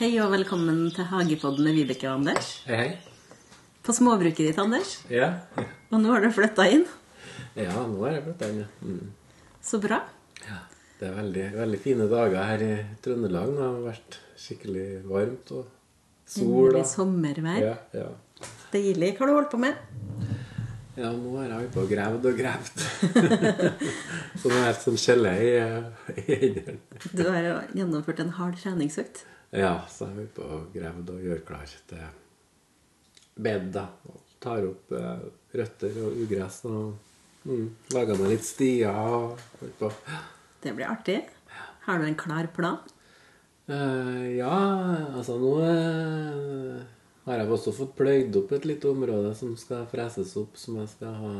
Hei og velkommen til Hagepodden med Vibeke og Anders. Hei, hei. På småbruket ditt, Anders. Ja. Og nå har du flytta inn. ja, nå er jeg blitt den. ja. Mm. Så bra. Ja. Det er veldig, veldig fine dager her i Trøndelag. nå. Det har vært skikkelig varmt og sol. Nydelig Og. sommervær. Ja, ja. Deilig. Hva har du holdt på med? ja, nå har jeg holdt på og gravd og gravd. så nå er jeg helt som skjellet i eh, i hendene. Du har jo gjennomført en hard treningsøkt. Ja, så jeg har holdt på og gravd og gjør klar til bed. da. Og tar opp eh, røtter og ugress og mm, lager meg litt stier. og holdt på. Det blir artig. Har du en klar plan? Eh, ja, altså nå eh, har jeg også fått pløyd opp et lite område som skal freses opp, som jeg skal ha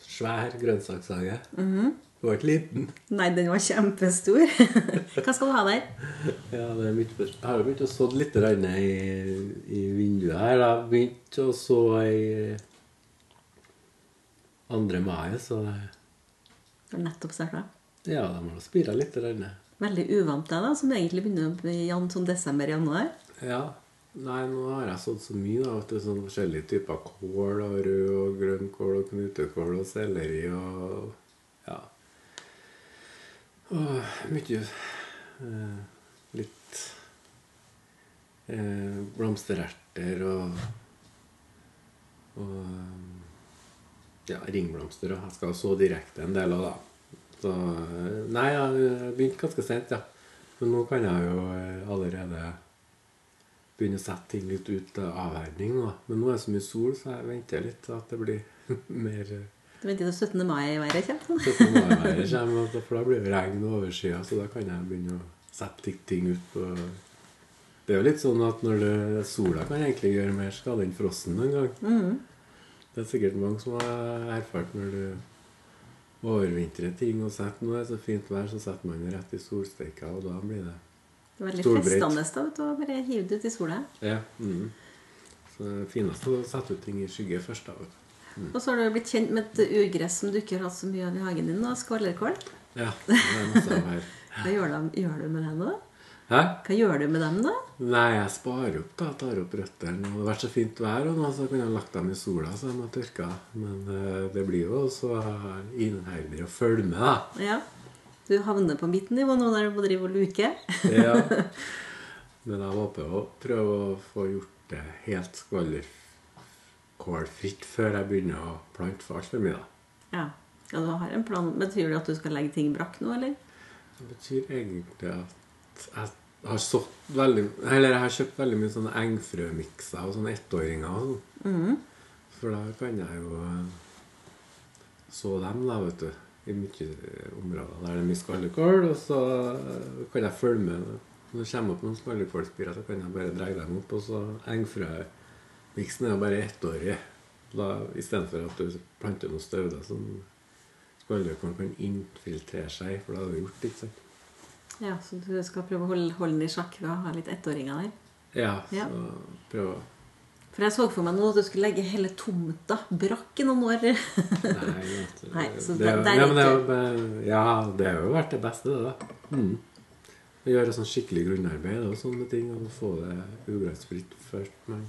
svær grønnsakshage. Du var ikke liten. Nei, den var kjempestor. Hva skal du ha der? Ja, det er mitt, spørsmål. jeg har jo begynt å sådd litt grann i, i vinduet her. da. Jeg begynte å så i 2. mai, så Du har nettopp starta. ja, de har spira litt. Grann. Veldig uvant deg, da, som egentlig begynner opp i jan- sånn desember-januar. Ja. Nei, nå har jeg sådd så mye, da. Vet du, sånn forskjellige typer kål. Og rød og grønn kål og knutekål og selleri og Ja. Og mye eh, Litt eh, blomstererter og Og eh, ja, ringblomster. Og jeg skal så direkte en del av det. Så eh, Nei, jeg begynte ganske sent, ja. Men nå kan jeg jo eh, allerede begynne å sette ting litt ut til avverning. Da. Men nå er det så mye sol, så jeg venter litt til at det blir mer eh, Du venter til 17. mai-været kommer. sånn som vårværet kommer. altså, For da blir det regn og overskyet, så da kan jeg begynne å sette litt ting ut på Det er jo litt sånn at når det, sola kan egentlig gjøre mer skade enn frossen noen gang. Det er sikkert mange som har erfart når du overvintrer ting og setter Nå er det så fint vær, så setter man det rett i solsteika, og da blir det Det er veldig Stolbreit. fristende da, vet du, å bare hive det ut i sola. Ja. Mm. Så det fineste er å sette ut ting i skygge først. da. vet du. Og så har du blitt kjent med et ugress som du ikke har hatt så mye av i hagen din, da, skvallerkål. Ja, det er masse av her. Hva gjør du, gjør du med dem, da? Hæ? Hva gjør du med dem, da? Nei, jeg sparer opp, da. Tar opp røttene. Og Det har vært så fint vær, og nå så kunne jeg lagt dem i sola, så de har tørka. Men eh, det blir jo også innherdig å følge med, da. Ja. Du havner på mitt nivå nå der du må drive og luke. Ja. Men jeg håper å prøve å få gjort det helt skvallerkålfritt før jeg begynner å plante for altfor mye, da. Ja. ja, du har en plan. Betyr det at du skal legge ting brakk nå, eller? Det betyr egentlig at jeg har sått veldig Eller jeg har kjøpt veldig mye sånne engfrømikser og sånne ettåringer og sånn. For da kan jeg jo eh, så dem, da, vet du. I mye områder der det er mye skallekål. Og så eh, kan jeg følge med. Når det kommer opp noen skallekålspirer, så kan jeg bare dra dem opp. Og så engfrømiksen er jo bare ettårig. Da, Istedenfor at du planter noen stauder som skallekålen kan infiltrere seg i, for da har du gjort litt sånn. Ja, så du skal prøve å holde, holde den i sjakk ved å ha litt ettåringer der. Ja, så Ja. prøv å For jeg så for meg nå at du skulle legge hele tomta brakk i noen år. Nei, vet du, Nei, så det, er jo- det- det er ja, men det er jo bare- ja, det har jo vært det beste, det, da. Mm. Å gjøre sånn skikkelig grunnarbeid og sånne ting, og få det ugressfritt først. Men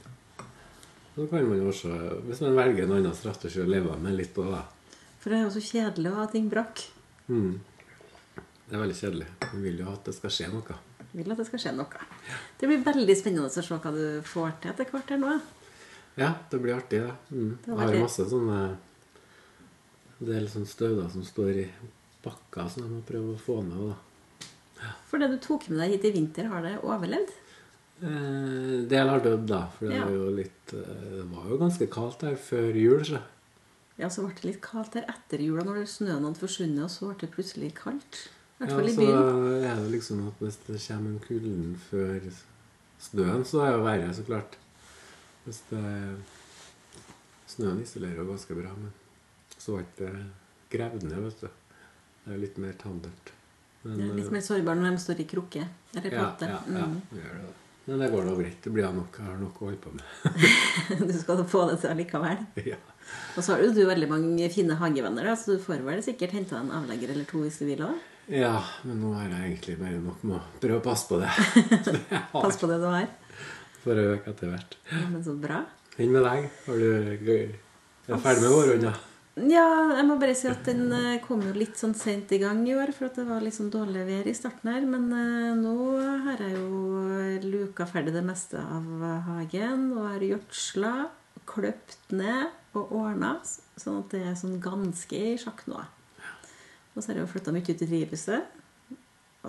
så kan man jo også, hvis man velger en annen strategi, å leve med litt òg, da. For det er jo så kjedelig å ha ting brakk. Mm. Det er veldig kjedelig. Man vil jo at det skal skje noe. Jeg vil at det skal skje noe. Det blir veldig spennende å se hva du får til etter hvert her nå. Ja, det blir artig, det. Mm. Det var Jeg har artig. masse sånne En del sånne støvler som står i bakka, så jeg må prøve å få ned. da. For det du tok med deg hit i vinter, har det overlevd? Eh, del har dødd, da. For det, Ja. var jo litt, eh, det var jo ganske kaldt her før jul. Så. Ja, så ble det litt kaldt her etter jula når snøen hadde forsvunnet, og så ble det plutselig kaldt. I hvert Ja, fall i så byen. er det liksom at hvis det kommer en kulden før snøen, så er det jo verre, så klart. Hvis det Snøen isolerer jo ganske bra, men så ble det gravd ned, vet du. Det er jo litt mer tandert. Men, Det er eh, litt mer sårbar når de står i krukke. Eller Ja, potte. ja, ja. Mm. det gjør det, da. Men det går da greit. Det blir da nok, jeg har nok å holde på med. Du skal få det til allikevel. ja. Og så har jo du veldig mange fine hagevenner, da, så du får vel sikkert henta en avlegger eller to hvis du vil òg. ja, men nå har jeg egentlig bare nok med å prøve å passe på det. det jeg har, Pass på det du har. for å øke etter hvert. Ja, Men så bra. Enn med deg? Har du Jeg er ferdig med vårhånda. Ja, jeg må bare si at den eh, kom jo litt sånn sent i gang i år, for at det var litt sånn dårlig vær i starten her. Men eh, nå har jeg jo luka ferdig det meste av eh, hagen, og har gjødsla, kløpt ned og ordna, s- sånn at det er sånn ganske i sjakk nå. Og så har jeg jo flytta mye ut i drivhuset.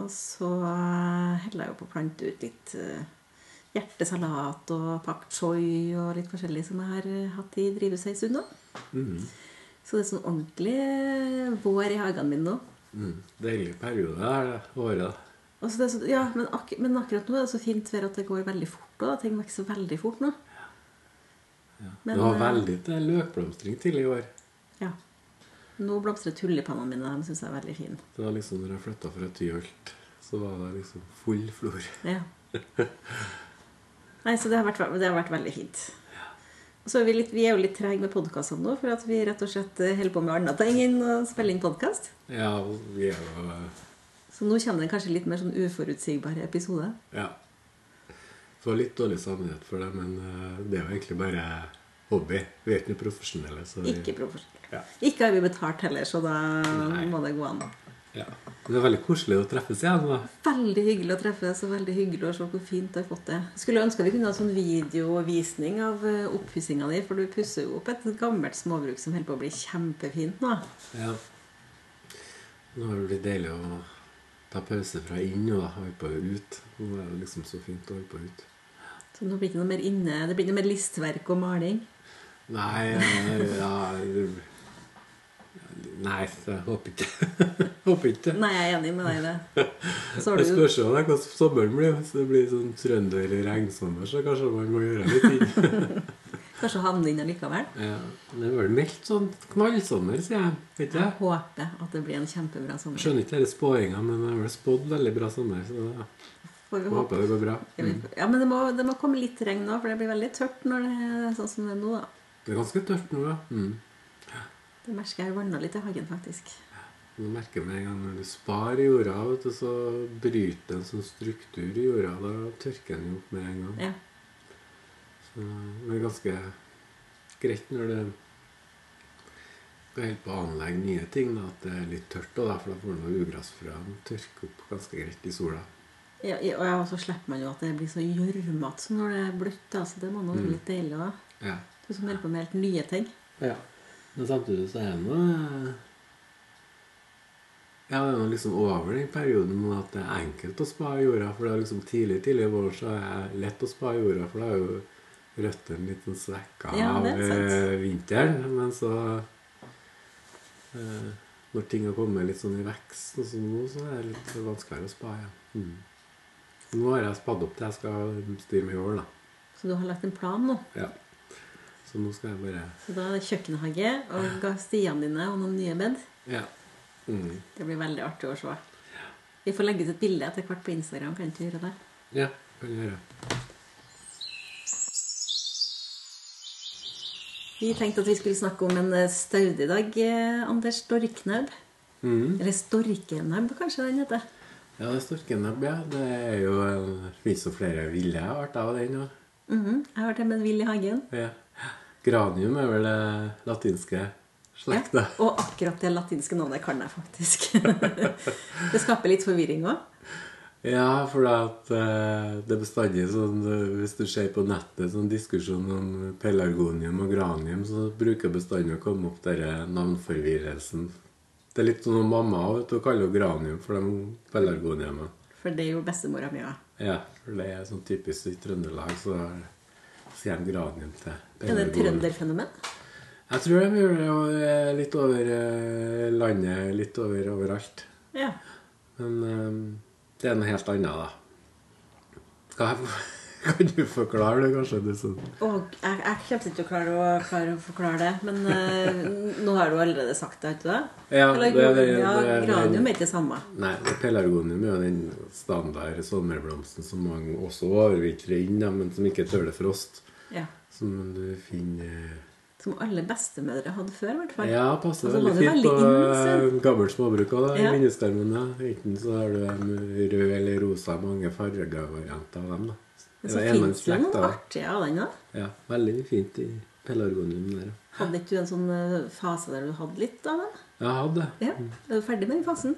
Og så eh, holder jeg jo på å plante ut litt eh, hjertesalat og pak choi og litt forskjellig som jeg har eh, hatt i drivhuset en stund nå. Så det er sånn ordentlig eh, vår i hagen min nå. Mm. Deilig periode der, det året. da. Og så det er så, ja, men, ak men akkurat nå er det så fint vær at det går veldig fort. Også. Ting vokser veldig fort nå. Men, det var eh, veldig til løkblomstring tidlig i år. Ja. Nå blomstrer tulipanene mine. De syns jeg er veldig fine. Det var liksom når jeg flytta fra Tyholt, så var det liksom full flor. Ja. Nei, så det har vært, det har vært veldig fint. Og så er vi, litt, vi er jo litt trege med podkastene nå, for at vi rett og slett eh, holder på med andre ting enn å spille inn podkast. Ja, vi er jo Så nå kommer det kanskje litt mer sånn uforutsigbare episoder. Ja. Får litt dårlig samvittighet for det, men eh, det er jo egentlig bare hobby. Vi er ikke noe profesjonelle, så vi, Ikke profesjonelt. Ja. Ikke har vi betalt heller, så da Nei. må det gå an. ja. Men det er veldig koselig å treffes igjen, da. Veldig hyggelig å treffes og veldig hyggelig å se hvor fint du har fått det. Skulle ønske vi kunne ha sånn videovisning av eh, oppussinga di, for du pusser jo opp et gammelt småbruk som holder på å bli kjempefint nå. Ja. Nå har det blitt deilig å ta pause fra inn og holde på ut. Nå er det liksom så fint å holde på ut. Så nå blir det ikke noe mer inne, det blir ikke noe mer listverk og maling. Nei, eh, ja det- Nei, jeg håper ikke Håper ikke. Nei, jeg er enig med deg i det. Så har Det du spørs jo hvordan sommeren blir. Hvis det blir sånn trønder-regnsommer, så kanskje man må gjøre litt ting. kanskje havnet inn allikevel. ja, det er vel meldt sånn knallsommer, sier jeg. Vet ikke Jeg jeg? håper at det blir en kjempebra Jeg sommer. skjønner ikke disse spåingene, men det er vel spådd veldig bra sommer. Så da Får vi jeg håpe. håper det går bra. Mm. Ja, men det må, det må komme litt regn nå, for det blir veldig tørt når det er sånn som det er nå, da. Det er ganske tørt nå, ja. Mm. Det merker jeg vanna litt i hagen, faktisk. Du merker med en gang når du sparer jorda, vet du, så bryter det en sånn struktur i jorda. Da tørker den jo opp med en gang. Ja. Så det er ganske greit når du skal helt på å anlegge nye ting, da, at det er litt tørt. Og da, for da får du noe ugressfrøene tørke opp ganske greit i sola. Ja, ja, og ja, så slipper man jo at det blir så gjørmete som når det er bløtt. da, så det må nå være litt deilig òg. Ja. Du som holder på med helt nye ting. Men samtidig så er det noe Ja, det er noe liksom over den perioden nå at det er enkelt å spa i jorda. For det er liksom tidlig tidlig i vår så er det lett å spa i jorda, for da er jo røttene litt sånn svekka Ja, av det er sant. eh, vinteren. Men så eh, Når ting har kommet litt sånn i vekst, og sånn nå, så er det litt vanskeligere å spa igjen. Mm. Nå har jeg spadd opp til jeg skal styre med i år, da. Så du har lagt en plan nå. Ja. Så nå skal jeg bare Så da er det kjøkkenhage og ga- stiene dine og noen nye bed. Ja. Mm. Det blir veldig artig å se. Vi får legge ut et bilde etter hvert på Instagram. Kan ikke du gjøre det? Ja, kan jeg gjøre. Vi tenkte at vi skulle snakke om en eh, staude i dag, eh, Anders. Storknebb. Eller storkenebb, kanskje den heter. Ja, det er storkenebb, ja. Det er jo en- finnes jo flere ville arter av den òg. Mhm. Jeg har hørt om en vill i hagen. Ja. Granium er vel det latinske slekta. Ja, og akkurat det latinske navnet kan jeg faktisk. det skaper litt forvirring òg. Ja, for at eh, det er bestandig sånn eh, Hvis du ser på nettet sånn diskusjon om pelargonium og granium, så bruker bestandig å komme opp denne navnforvirrelsen. Det er litt sånn om mamma vet du, hun kaller jo granium for de pelargoniumene. For det er jo bestemora mi òg. Ja, for det er sånn typisk i Trøndelag, så sier de granium til Er det et trønderfenomen? Jeg tror de gjør det jo, eh, litt over eh, landet, litt over overalt. Ja. Men eh, det er noe helt annet, da. Hva, Kan du forklare det, kanskje? Det er sånn. Og jeg, jeg kommer ikke til å klare å, klare å forklare det, men eh, nå har du allerede sagt det, har du ikke det? Ja, Eller det- det- ja, det- granium er ikke det samme. Nei, pelargonium er jo den standard sommerblomsten som mange også overvintrer inn, da, men som ikke tåler frost. Ja. Som du finner Som alle bestemødre hadde før, i hvert fall. Ja, passer Altså, veldig var det fint veldig på inn, eh, gammelt småbruk også, da, i Ja. vinduskarmen. da. Enten så har du en rød eller rosa, mange fargevarianter av dem. da. Men så Det fins er det enmannsslekt, noe da. artig av den òg. Ja, veldig fint i pelargonium der. ja. Hadde ikke du en sånn eh, fase der du hadde litt av det? Jeg hadde det. Ja. Er du ferdig med den fasen?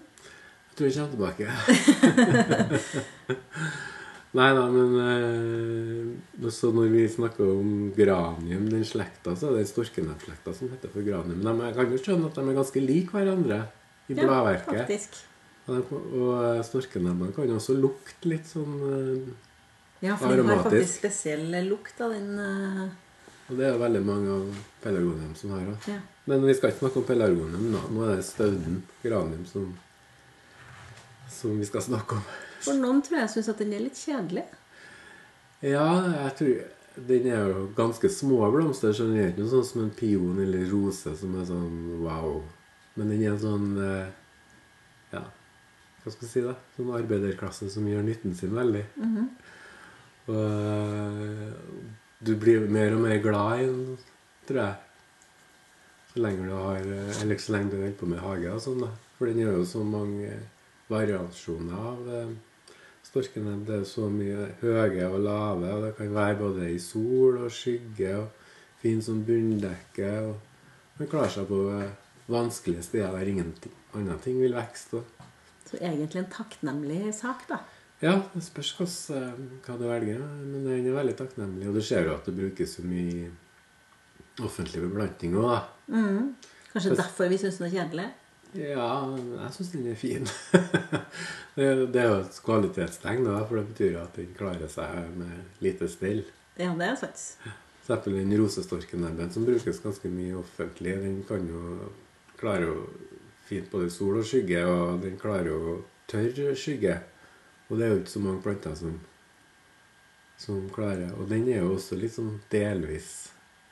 Jeg tror jeg kommer tilbake. Nei da, men eh, så når vi snakker om granium, den slekta, så er det storkenebbslekta som heter for granium. Men de- jeg kan jo skjønne at de er ganske like hverandre i bladverket. faktisk. Og de- og eh, storkenebbene kan jo også lukte litt sånn eh, Ja, for den har Aromatisk. faktisk spesiell lukt av den eh, Og det er jo veldig mange av pelargonium som har òg. ja. Men vi skal ikke snakke om pelargonium nå. Nå er det stauden granium som, som vi skal snakke om. For noen tror jeg syns at den er litt kjedelig. Ja, jeg tror Den er jo ganske små blomster, så den er ikke noe sånn som en pion eller rose som er sånn wow. Men den er sånn eh, Ja, hva skal jeg si, da? Sånn arbeiderklasse som gjør nytten sin veldig. Og eh, du blir mer og mer glad i den, tror jeg. Så lenge du har eh, Eller så lenge du holder på med hage og sånn, da. For den gjør jo så mange variasjoner av eh, Storkene det er så mye høye og lave, og det kan være både i sol og skygge og fin som bunndekke. og Man klarer seg på eh, vanskelige steder der ingen ti- andre ting vil vokse. og- Så egentlig en takknemlig sak, da. Ja, det spørs hva, hva du velger, men den er veldig takknemlig. Og du ser jo at det brukes så mye offentlig beplantning òg, da. Mhm. Kanskje Fast- derfor vi syns den er kjedelig. Ja, jeg syns den er fin. det, det er jo et kvalitetstegn, da, for det betyr jo at den klarer seg med lite stell. Ja, det er sant. For eksempel den rosestorkenebben som brukes ganske mye offentlig, den kan jo klare jo fint både sol og skygge, og den klarer jo tørr skygge. Og det er jo ikke så mange planter som, som klarer Og den er jo også litt sånn delvis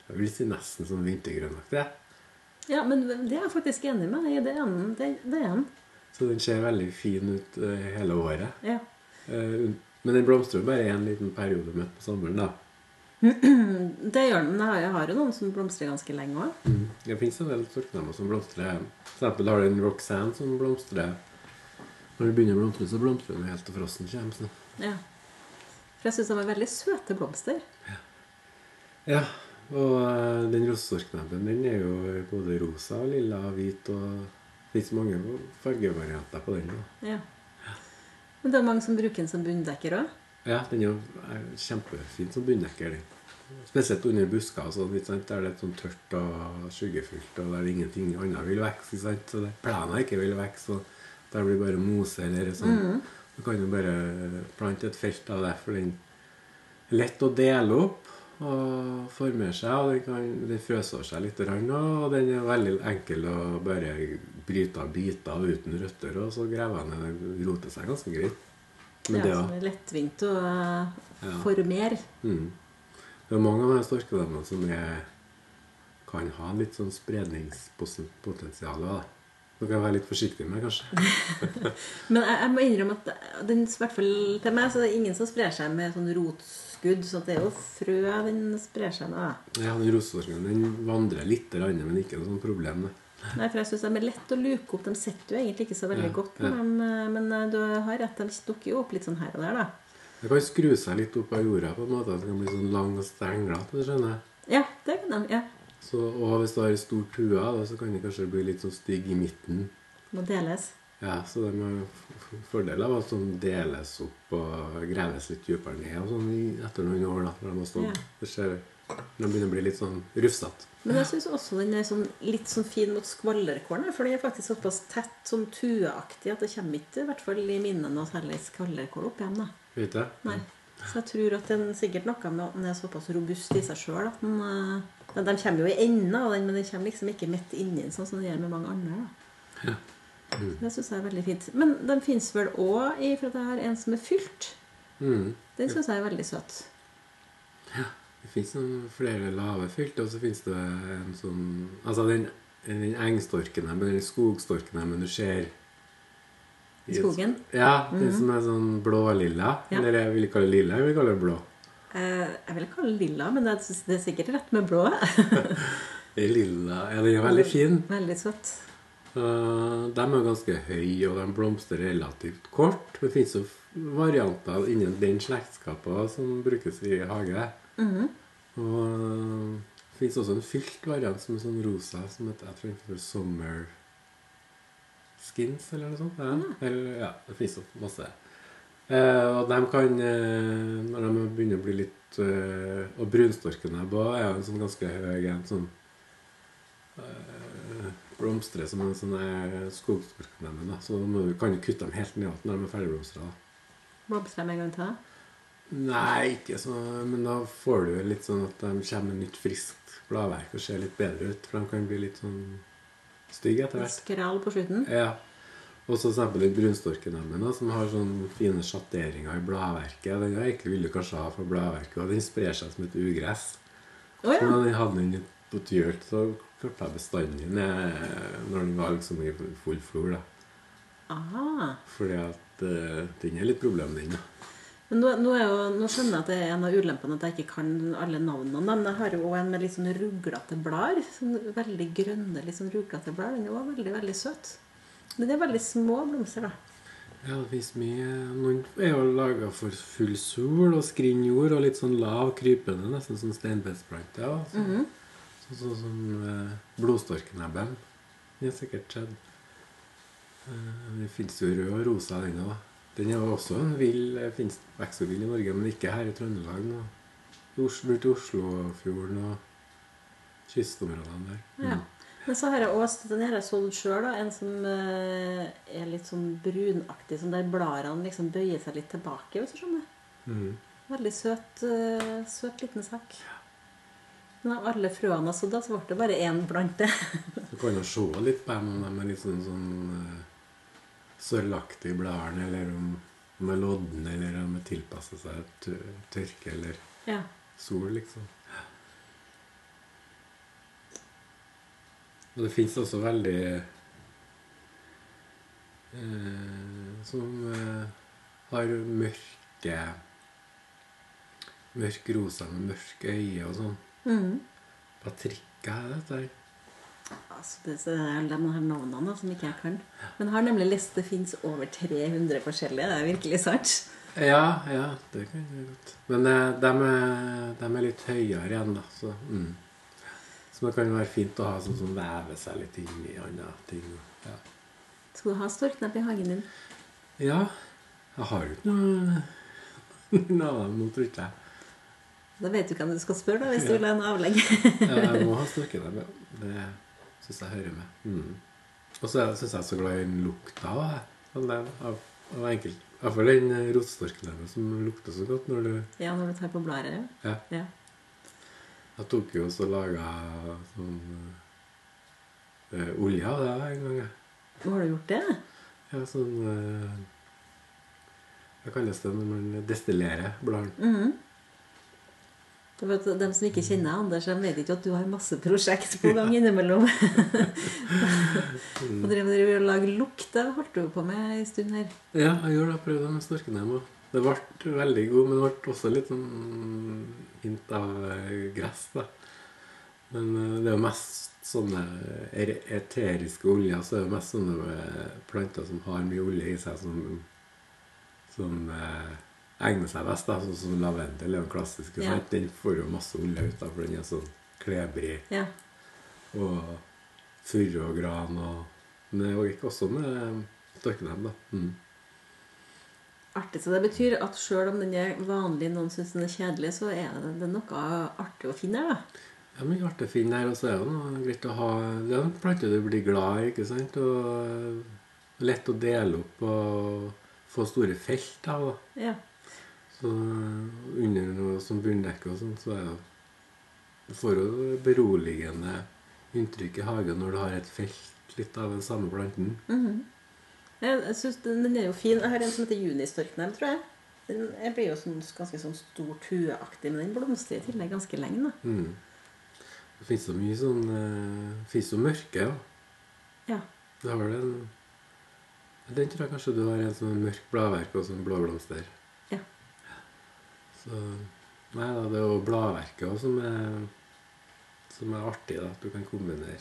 Jeg vil si nesten sånn vintergrønnaktig. Ja, men det er jeg faktisk enig med deg i. Det er en- det- det er en. Så den ser veldig fin ut eh, hele året. Ja. Eh, un- men den blomstrer jo bare en liten periode midt på sommeren, da. Mm, Det gjør den. men Jeg har- jeg har jo noen som blomstrer ganske lenge òg. Mm. Det finnes en del sortnammer som blomstrer. For eksempel har du en Roxanne som blomstrer. Når det begynner å blomstre, så blomstrer den helt til frosten kommer. Så. Ja. For jeg syns de er veldig søte blomster. Ja, og eh, den rosesorknebben, den er jo både rosa, lilla, hvit og Det finnes mange fargevarianter på den. Da. Ja. Men det er mange som bruker den som bunndekker òg. Ja, den er jo er kjempefin som bunndekker, den. Spesielt under busker og sånn, ikke sant, der det er sånn tørt og skyggefullt, og der ingenting annet vil vokse. ikke sant, så det- Plenen ikke vil vokse, og der blir bare mose eller sånn. Du kan jo bare plante et felt av det, for den er lett å dele opp og formere seg. og Den, kan, den frøsår seg litt, grann, og den er veldig enkel å bare bryte av biter av uten røtter, og så grevene roter seg ganske greit. Men det, ja, ja. som er lettvint å eh, Ja. formere. Mm. det er mange av de storkedemmene som er, kan ha litt sånn spredningspotensial. da. Du kan være litt forsiktig med, kanskje. Men jeg, jeg må innrømme at det- den, i hvert fall til meg, så er det ingen som sprer seg med sånn rotskudd. Så det er jo frø den sprer seg med. da. Ja, den rosesorkenen den vandrer litt, grann, men ikke noe sånt problem. det. Nei, for jeg synes de er lett å luke opp. De sitter jo egentlig ikke så veldig Ja, godt, ja. med dem, eh, men eh, du har rett, de dukker jo opp litt sånn her og der, da. Det kan skru seg litt opp av jorda på en måte, at det kan bli sånn lang og stenglet, du skjønner. Ja, det kan de. Ja. Så, og hvis du har en stor tue, da, så kan det kanskje bli litt sånn stygg i midten. Må deles. Ja, så det med fordel av at de deles opp og graves litt dypere ned og sånn i- etter noen år da, når de har stått. Ja. Det skjer, de begynner å bli litt sånn rufsete. Men jeg syns også den er sånn, litt sånn fin mot skvallerkålen. For den er faktisk såpass tett, sånn tueaktig, at det kommer ikke, i hvert fall i mine, noe særlig skvallerkål opp igjen. da. Vet du? Nei. Så jeg tror at den sikkert noe med at den er såpass robust i seg sjøl at den eh, ja, De kommer jo i enden av den, men den kommer liksom ikke midt inni den, sånn som den gjør med mange andre. da. Mm. Så Det syns jeg er veldig fint. Men den fins vel òg i For at jeg har en som er fylt. Mm. Den syns jeg er veldig søt. Det fins flere lave felt, og så fins det en sånn Altså den, den engstorken her, men den skogstorken her, men du ser i et- Skogen? Mhm. Ja. Den som er sånn blålilla. Ja. Eller jeg vil ikke kalle det lilla, jeg vil kalle det blå. Eh, jeg vil kalle det lilla, men det er, det er sikkert rett med blå. Det er Lilla Ja, den er veldig Mm. fin. Veldig søtt. Eh, de er ganske høye, og de blomstrer relativt kort. Det fins jo varianter innen den slektskapa som brukes i hage. Mhm. Og det fins også en fylt variant som er sånn rosa, som heter jeg tror den heter Summer Skins, eller noe sånt. Ja, eller, ja det fins jo masse. Eh, og de kan, eh, når de begynner å bli litt eh, Og brunstorken her på er jo en sånn ganske høy en sånn blomstre som en sånn eh, skogsbruksnemmen, da. Så må du, kan du kutte dem helt ned når de er ferdigblomstra. da. Blomstrer med en gang til. Nei, ikke så Men da får du litt sånn at de kommer med nytt, friskt bladverk og ser litt bedre ut. For de kan bli litt sånn stygge etter En hvert. Skral på slutten. Ja. Og så eksempel den brunstorkenemmen, da, som har sånn fine sjatteringer i bladverket. Den har jeg egentlig ville kanskje ha for bladverket, og den sprer seg som et ugress. Å Så ja. når den hadde den litt på tjørt, så klarte jeg bestanden ned når den var liksom i full flor, da. Ah. Fordi at eh, den er litt problem, den. da. Men nå, nå, er jo, nå skjønner jeg at det er en av ulempene at jeg ikke kan alle navnene. Men jeg har jo også en med litt sånn ruglete blader. Sånn veldig grønne, litt sånn ruglete blader. Den er også veldig, veldig søt. Men det er veldig små blomster, da. Ja, det fins mye Noen er jo laga for full sol og skrinn jord og litt sånn lav, krypende, nesten som steinbestplanter. Ja. Sånn Mhm. sånn som eh, blodstorkenebben. Den har sikkert sett. Eh, det fins jo rød og rosa, den òg. Den er jo også en vill eh, finnes- vokser vill i Norge, men ikke her i Trøndelag. nå. I Os- Bort til Oslofjorden og kystområdene der. Ja. Men så har jeg også den her har jeg solgt sjøl, da. En som eh, er litt sånn brunaktig, sånn der bladene liksom bøyer seg litt tilbake, hvis du skjønner. Mhm. Veldig søt, eh, søt liten sak. Men av alle frøene jeg sådde, så ble det bare én blant det. Du kan jo se litt på dem om de er litt sånn, sånn eh, sølvaktige bladene, eller om de er lodne, eller om de tilpasser seg tø- tørke eller ja. sol, liksom. Og det fins også veldig eh, Som eh, har mørke Mørk rosa med mørke øyne og sånn. Mhm. Patrikka er dette her. Altså, det det er alle de her navnene da, som ikke jeg kan. Men jeg har nemlig lest det fins over 300 forskjellige. Det er virkelig sant. Ja, ja, det kan jeg godt. Men eh, de er, dem er litt høyere igjen, da. Så, mm. så det kan være fint å ha sånn som vever seg litt inn i andre ting. Ja. Skal du ha storknapp i hagen din? ja, jeg har jo ikke noe noen av dem nå, tror ikke jeg. Da vet du hvem du skal spørre da, hvis du vil ha en avlegg. Ja, Jeg må ha styrke dem, ja. Det syns jeg hører med. Mm. Og så syns jeg er så glad i den lukta av det. Sånn den av, av enkelt. Iallfall den eh, rotstorknemmen som lukter så godt når du ja, når du tar på blader. ja. ja. Ja. Jeg tok jo også og laga sånn eh, olje av det en gang. jeg. Nå har du gjort det? Ja, sånn eh, Hva kalles det når man destillerer bladene? Mhm. Du vet, De som ikke kjenner Anders, de vet ikke at du har masse prosjekt på gang innimellom. og drev dere og lage lukt? Det holdt du på med en stund her. Ja, jeg gjorde det. Jeg prøvde med storkenem òg. Det ble veldig god, men det ble også litt sånn hint av eh, gress, da. Men eh, det er jo mest sånne er- eteriske oljer, så er det mest sånne eh, planter som har mye olje i seg, som, som eh, egner seg best. da, Sånn som lavendel er jo en klassisk. Ja. sant? Den får jo masse olje ut av, for den er sånn klebrig. Ja. Og furu og gran og Men det gikk også med storkenem, da. Mm. Artig, så Det betyr at sjøl om den er vanlig, noen syns den er kjedelig, så er det, det er noe artig å finne her. da. Ja, men artig å finne her, og så er det noe greit å ha Det er en plante du blir glad i, ikke sant? Og lett å dele opp og få store felt av. da. Ja. Så under noe som bunndekke og sånn, så er det Du får jo beroligende inntrykk i hagen når du har et felt litt av den samme planten. Mhm. Jeg, jeg synes den, den er jo fin. Jeg har en som heter Junistorknem, tror jeg. Den jeg blir jo sånn, ganske sånn stor tueaktig, men den blomstrer i tillegg ganske lenge. da. Mm. Det fins så mye sånn eh, Det fins så mørke, da. Ja. Du har vel en Den tror jeg kanskje du har en sånn mørk bladverk og sånn blåblomster. Ja. Så Nei da, det er jo bladverket også som er som er artig, da. At du kan kombinere.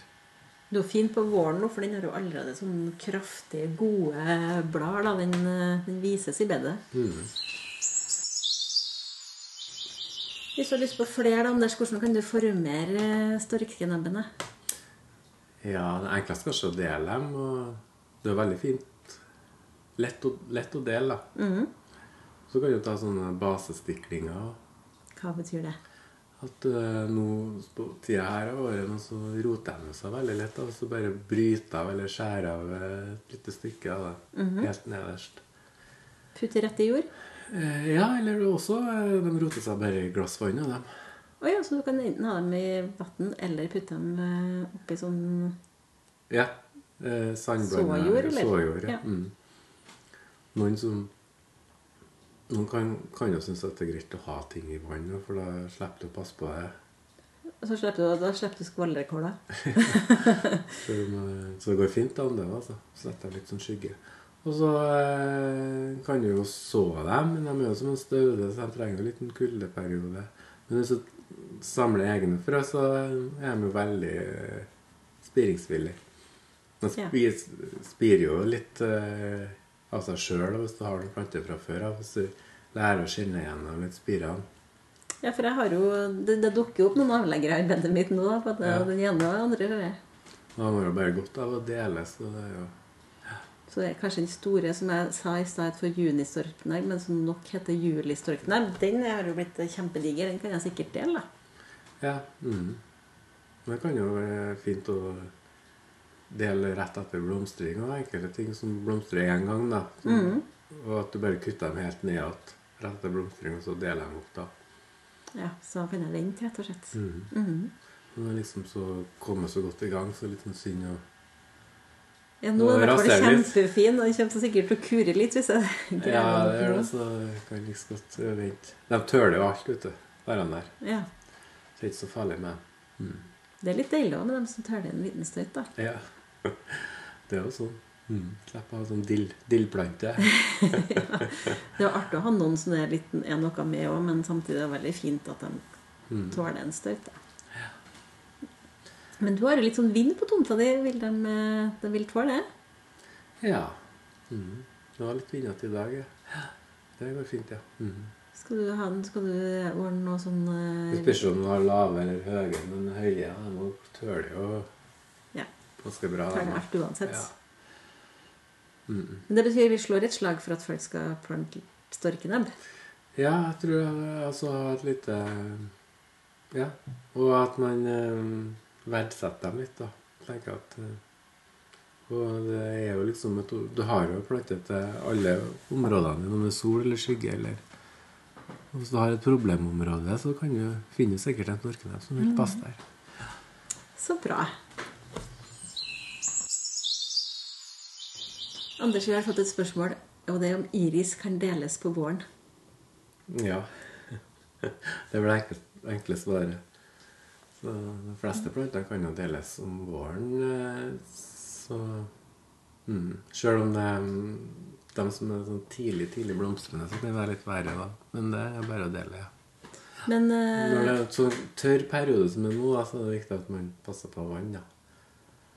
Du er jo fin på våren nå, for den har jo allerede sånn kraftige, gode blad. da. Den, eh, den vises i bedet. Mm. Hvis du har lyst på flere, da, Anders, hvordan kan du formere eh, storknebbene? Ja, det enkleste er kanskje å dele dem, og det er veldig fint. Lett å, lett å dele, da. Mhm. Så kan du ta sånne basestiklinger. Hva betyr det? At eh, nå på tida her av året nå så roter de seg veldig lett. da, Og så bare bryter av eller skjærer av eh, et lite stykke av det. Helt nederst. Putte rett i jord? Eh, ja, eller også eh, de roter seg bare i glass vann av dem. Å ja, så du kan enten ha dem i vann eller putte dem eh, oppi sånn Ja. Eh, Sandblanda Såjord, eller? Såjord, ja. Ja. Mm. Noen som Noen kan, kan jo synes at det er greit å ha ting i vann, for da slipper du å passe på det. Og så slipper du, da slipper du skvallerkåla. Så, de, eh, så det går fint an, det. altså. Sletter litt sånn skygge. Og så eh, kan du jo så dem, men de er jo som en staude, så de trenger jo en liten kuldeperiode. Men hvis du samler egne frø, så er de jo veldig eh, spiringsvillige. De Ja. spi, spirer jo litt eh, av seg sjøl hvis du har noen planter fra før av. Hvis du lærer å skille gjennom litt spirene. Ja, for jeg har jo Det, det dukker jo opp noen avleggere i bedet mitt nå, da. For at det, Ja. den ene og den andre hører jeg. Og de har jo bare godt av å dele, så det er jo Så det er kanskje den store som jeg sa i stad for junistorknegg, men som nok heter julistorknegg. Den har jo blitt kjempediger. Den kan jeg sikkert dele, da. Ja. Mm. Det kan jo være fint å dele rett etter blomstring og enkelte ting som blomstrer én gang. da. Som, Mm. Og at du bare kutter dem helt ned igjen rett etter blomstring, og så deler dem opp. da. Ja, Så kan jeg vente, rett og slett. Mhm. Mhm. Når det liksom så kommer så godt i gang, så er det litt sånn synd å Ja, nå er Nå den i hvert fall raser jeg litt. kjempefin, og den kommer til sikkert til å kure litt hvis jeg greier Ja, det gjør den det, så kan jeg like så godt eh, vente. De tøler jo alt, vet du. Bare den der. nå. Ja. Så det er ikke så farlig med dem. Det er litt deilig òg med dem som tåler en liten støyt, da. Ja. Det er jo sånn. Mm. Slipp å ha sånn dill, dillplante. Det er artig å ha noen som det er, litt, er noe med òg, men samtidig er det veldig fint at de Mm. tåler en støyt. Da. Men du har jo litt sånn vind på tomta di. Vil de, eh, de vil tåle det? Ja. Mm. Det var litt vindete i dag, ja. Det går fint, ja. Mm. Skal du, ha, den- skal du ordne noe sånn eh, Det spørs om du har lave eller høye, men høye ja, de må tøle jo Ja. ganske bra. Tåler de. alt uansett. Ja. Mm. Men det betyr vi slår et slag for at folk skal plante storkenebb. ja, jeg tror jeg altså har et lite Ja. Og at man eh, verdsetter dem litt, da. Tenker at eh, Og det er jo liksom et Du har jo plante til alle områdene dine med sol eller skygge eller og Hvis du har et problemområde, så kan du finne sikkert en snorkenebb som vil passe der. Så bra. Anders, vi har fått et spørsmål, og det er om iris kan deles på våren. Ja. Det er vel det enkle- enkle svaret. Så de fleste planter kan jo deles om våren, eh, så mm. Sjøl om det er mm, de som er sånn tidlig, tidlig blomstrende, så kan det være litt verre, da. Men det er bare å dele, ja. Men Når det eh, er en sånn tørr periode som er nå, da, så er det viktig at man passer på vann, da.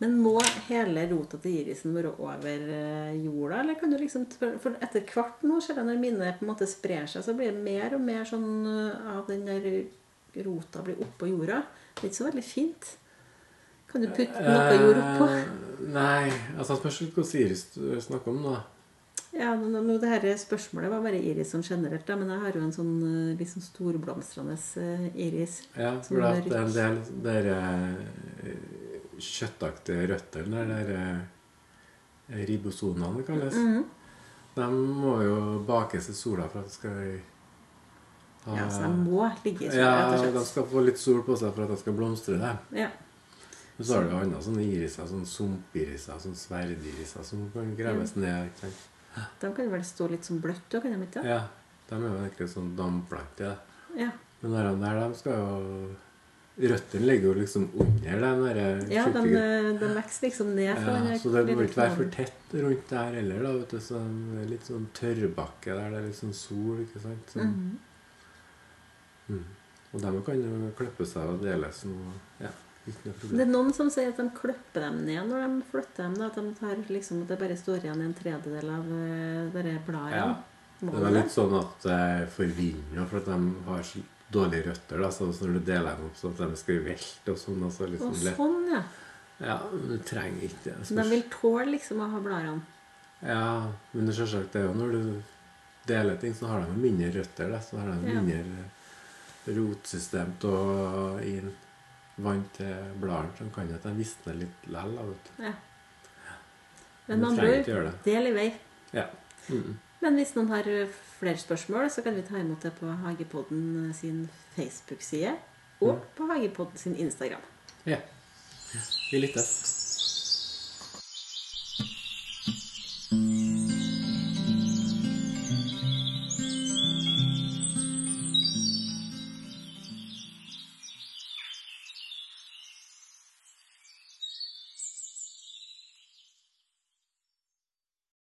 Men må hele rota til irisen være over eh, jorda, eller kan du liksom For etter hvert nå, ser jeg når minnet på en måte sprer seg, så blir det mer og mer sånn eh, av den der rota blir oppå jorda. Det er ikke så veldig fint. Kan du putte noe jord oppå? Eh, Nei, altså spørs litt hva Iris du snakker om, da. Ja, men men det her spørsmålet var bare iris sånn generelt, da, men jeg har jo en sånn eh, litt sånn storblomstrende eh, iris. Ja, Som for det at det rødt. er en del sånn der eh, kjøttaktige røttene, der, der eh, ribosonene det kalles, Mhm. de må jo bakes i sola for at det skal ha Ja, så jeg må ligge i sola, Eh, Ja, rett de og slett. skal få litt sol på seg for at de skal blomstre dem. Ja. Men så har du jo andre sånne iriser, sånne sumpiriser, sånne sverdiriser som kan graves ned. ikke sant? De kan vel stå litt som sånn bløtt òg, kan de ikke? Ja, de De er jo egentlig sånn damplanter. da. Ja. Men de der, de skal jo Røttene ligger jo liksom under den der ja eh, de, skjortegreia. de vokser liksom ned fra den Ja, her så det må lille ikke være for knollen. tett rundt der heller. da, vet du, så det er Litt sånn tørrbakke der det er litt sånn sol. ikke sant? Så, Mhm. mm. Og de kan jo klippe seg og deles. Og, ja, ikke noe Det problem. er noen som sier at de klipper dem ned når de flytter dem. Da, at de tar liksom, at det bare står igjen en tredjedel av eh, dere Ja, bladene. Må det var det? litt sånn at det forvinner, for at de har så dårlige røtter. da, så Når du deler dem opp sånn at de skal velte og sånn, da, så er det Og liksom lett. sånn, ja. Ja, men du trenger ikke det. Så de vil tåle liksom å ha bladene. Ja, men det er selvsagt det er jo når du deler ting, så har de jo mindre røtter. Da. Så har de Ja. mindre rotsystem til å inn vann til bladene, som kan jo at de visner litt lell. da, vet du. Ja. Men Men med du andre trenger ord, ikke gjøre det. del i vei. Ja. Mm. Men hvis noen har eh, flere spørsmål, så kan vi ta imot det på Hagepodden eh, sin Mm. Facebook-side og på Hagepodden sin Instagram. ja. Vi lyttes.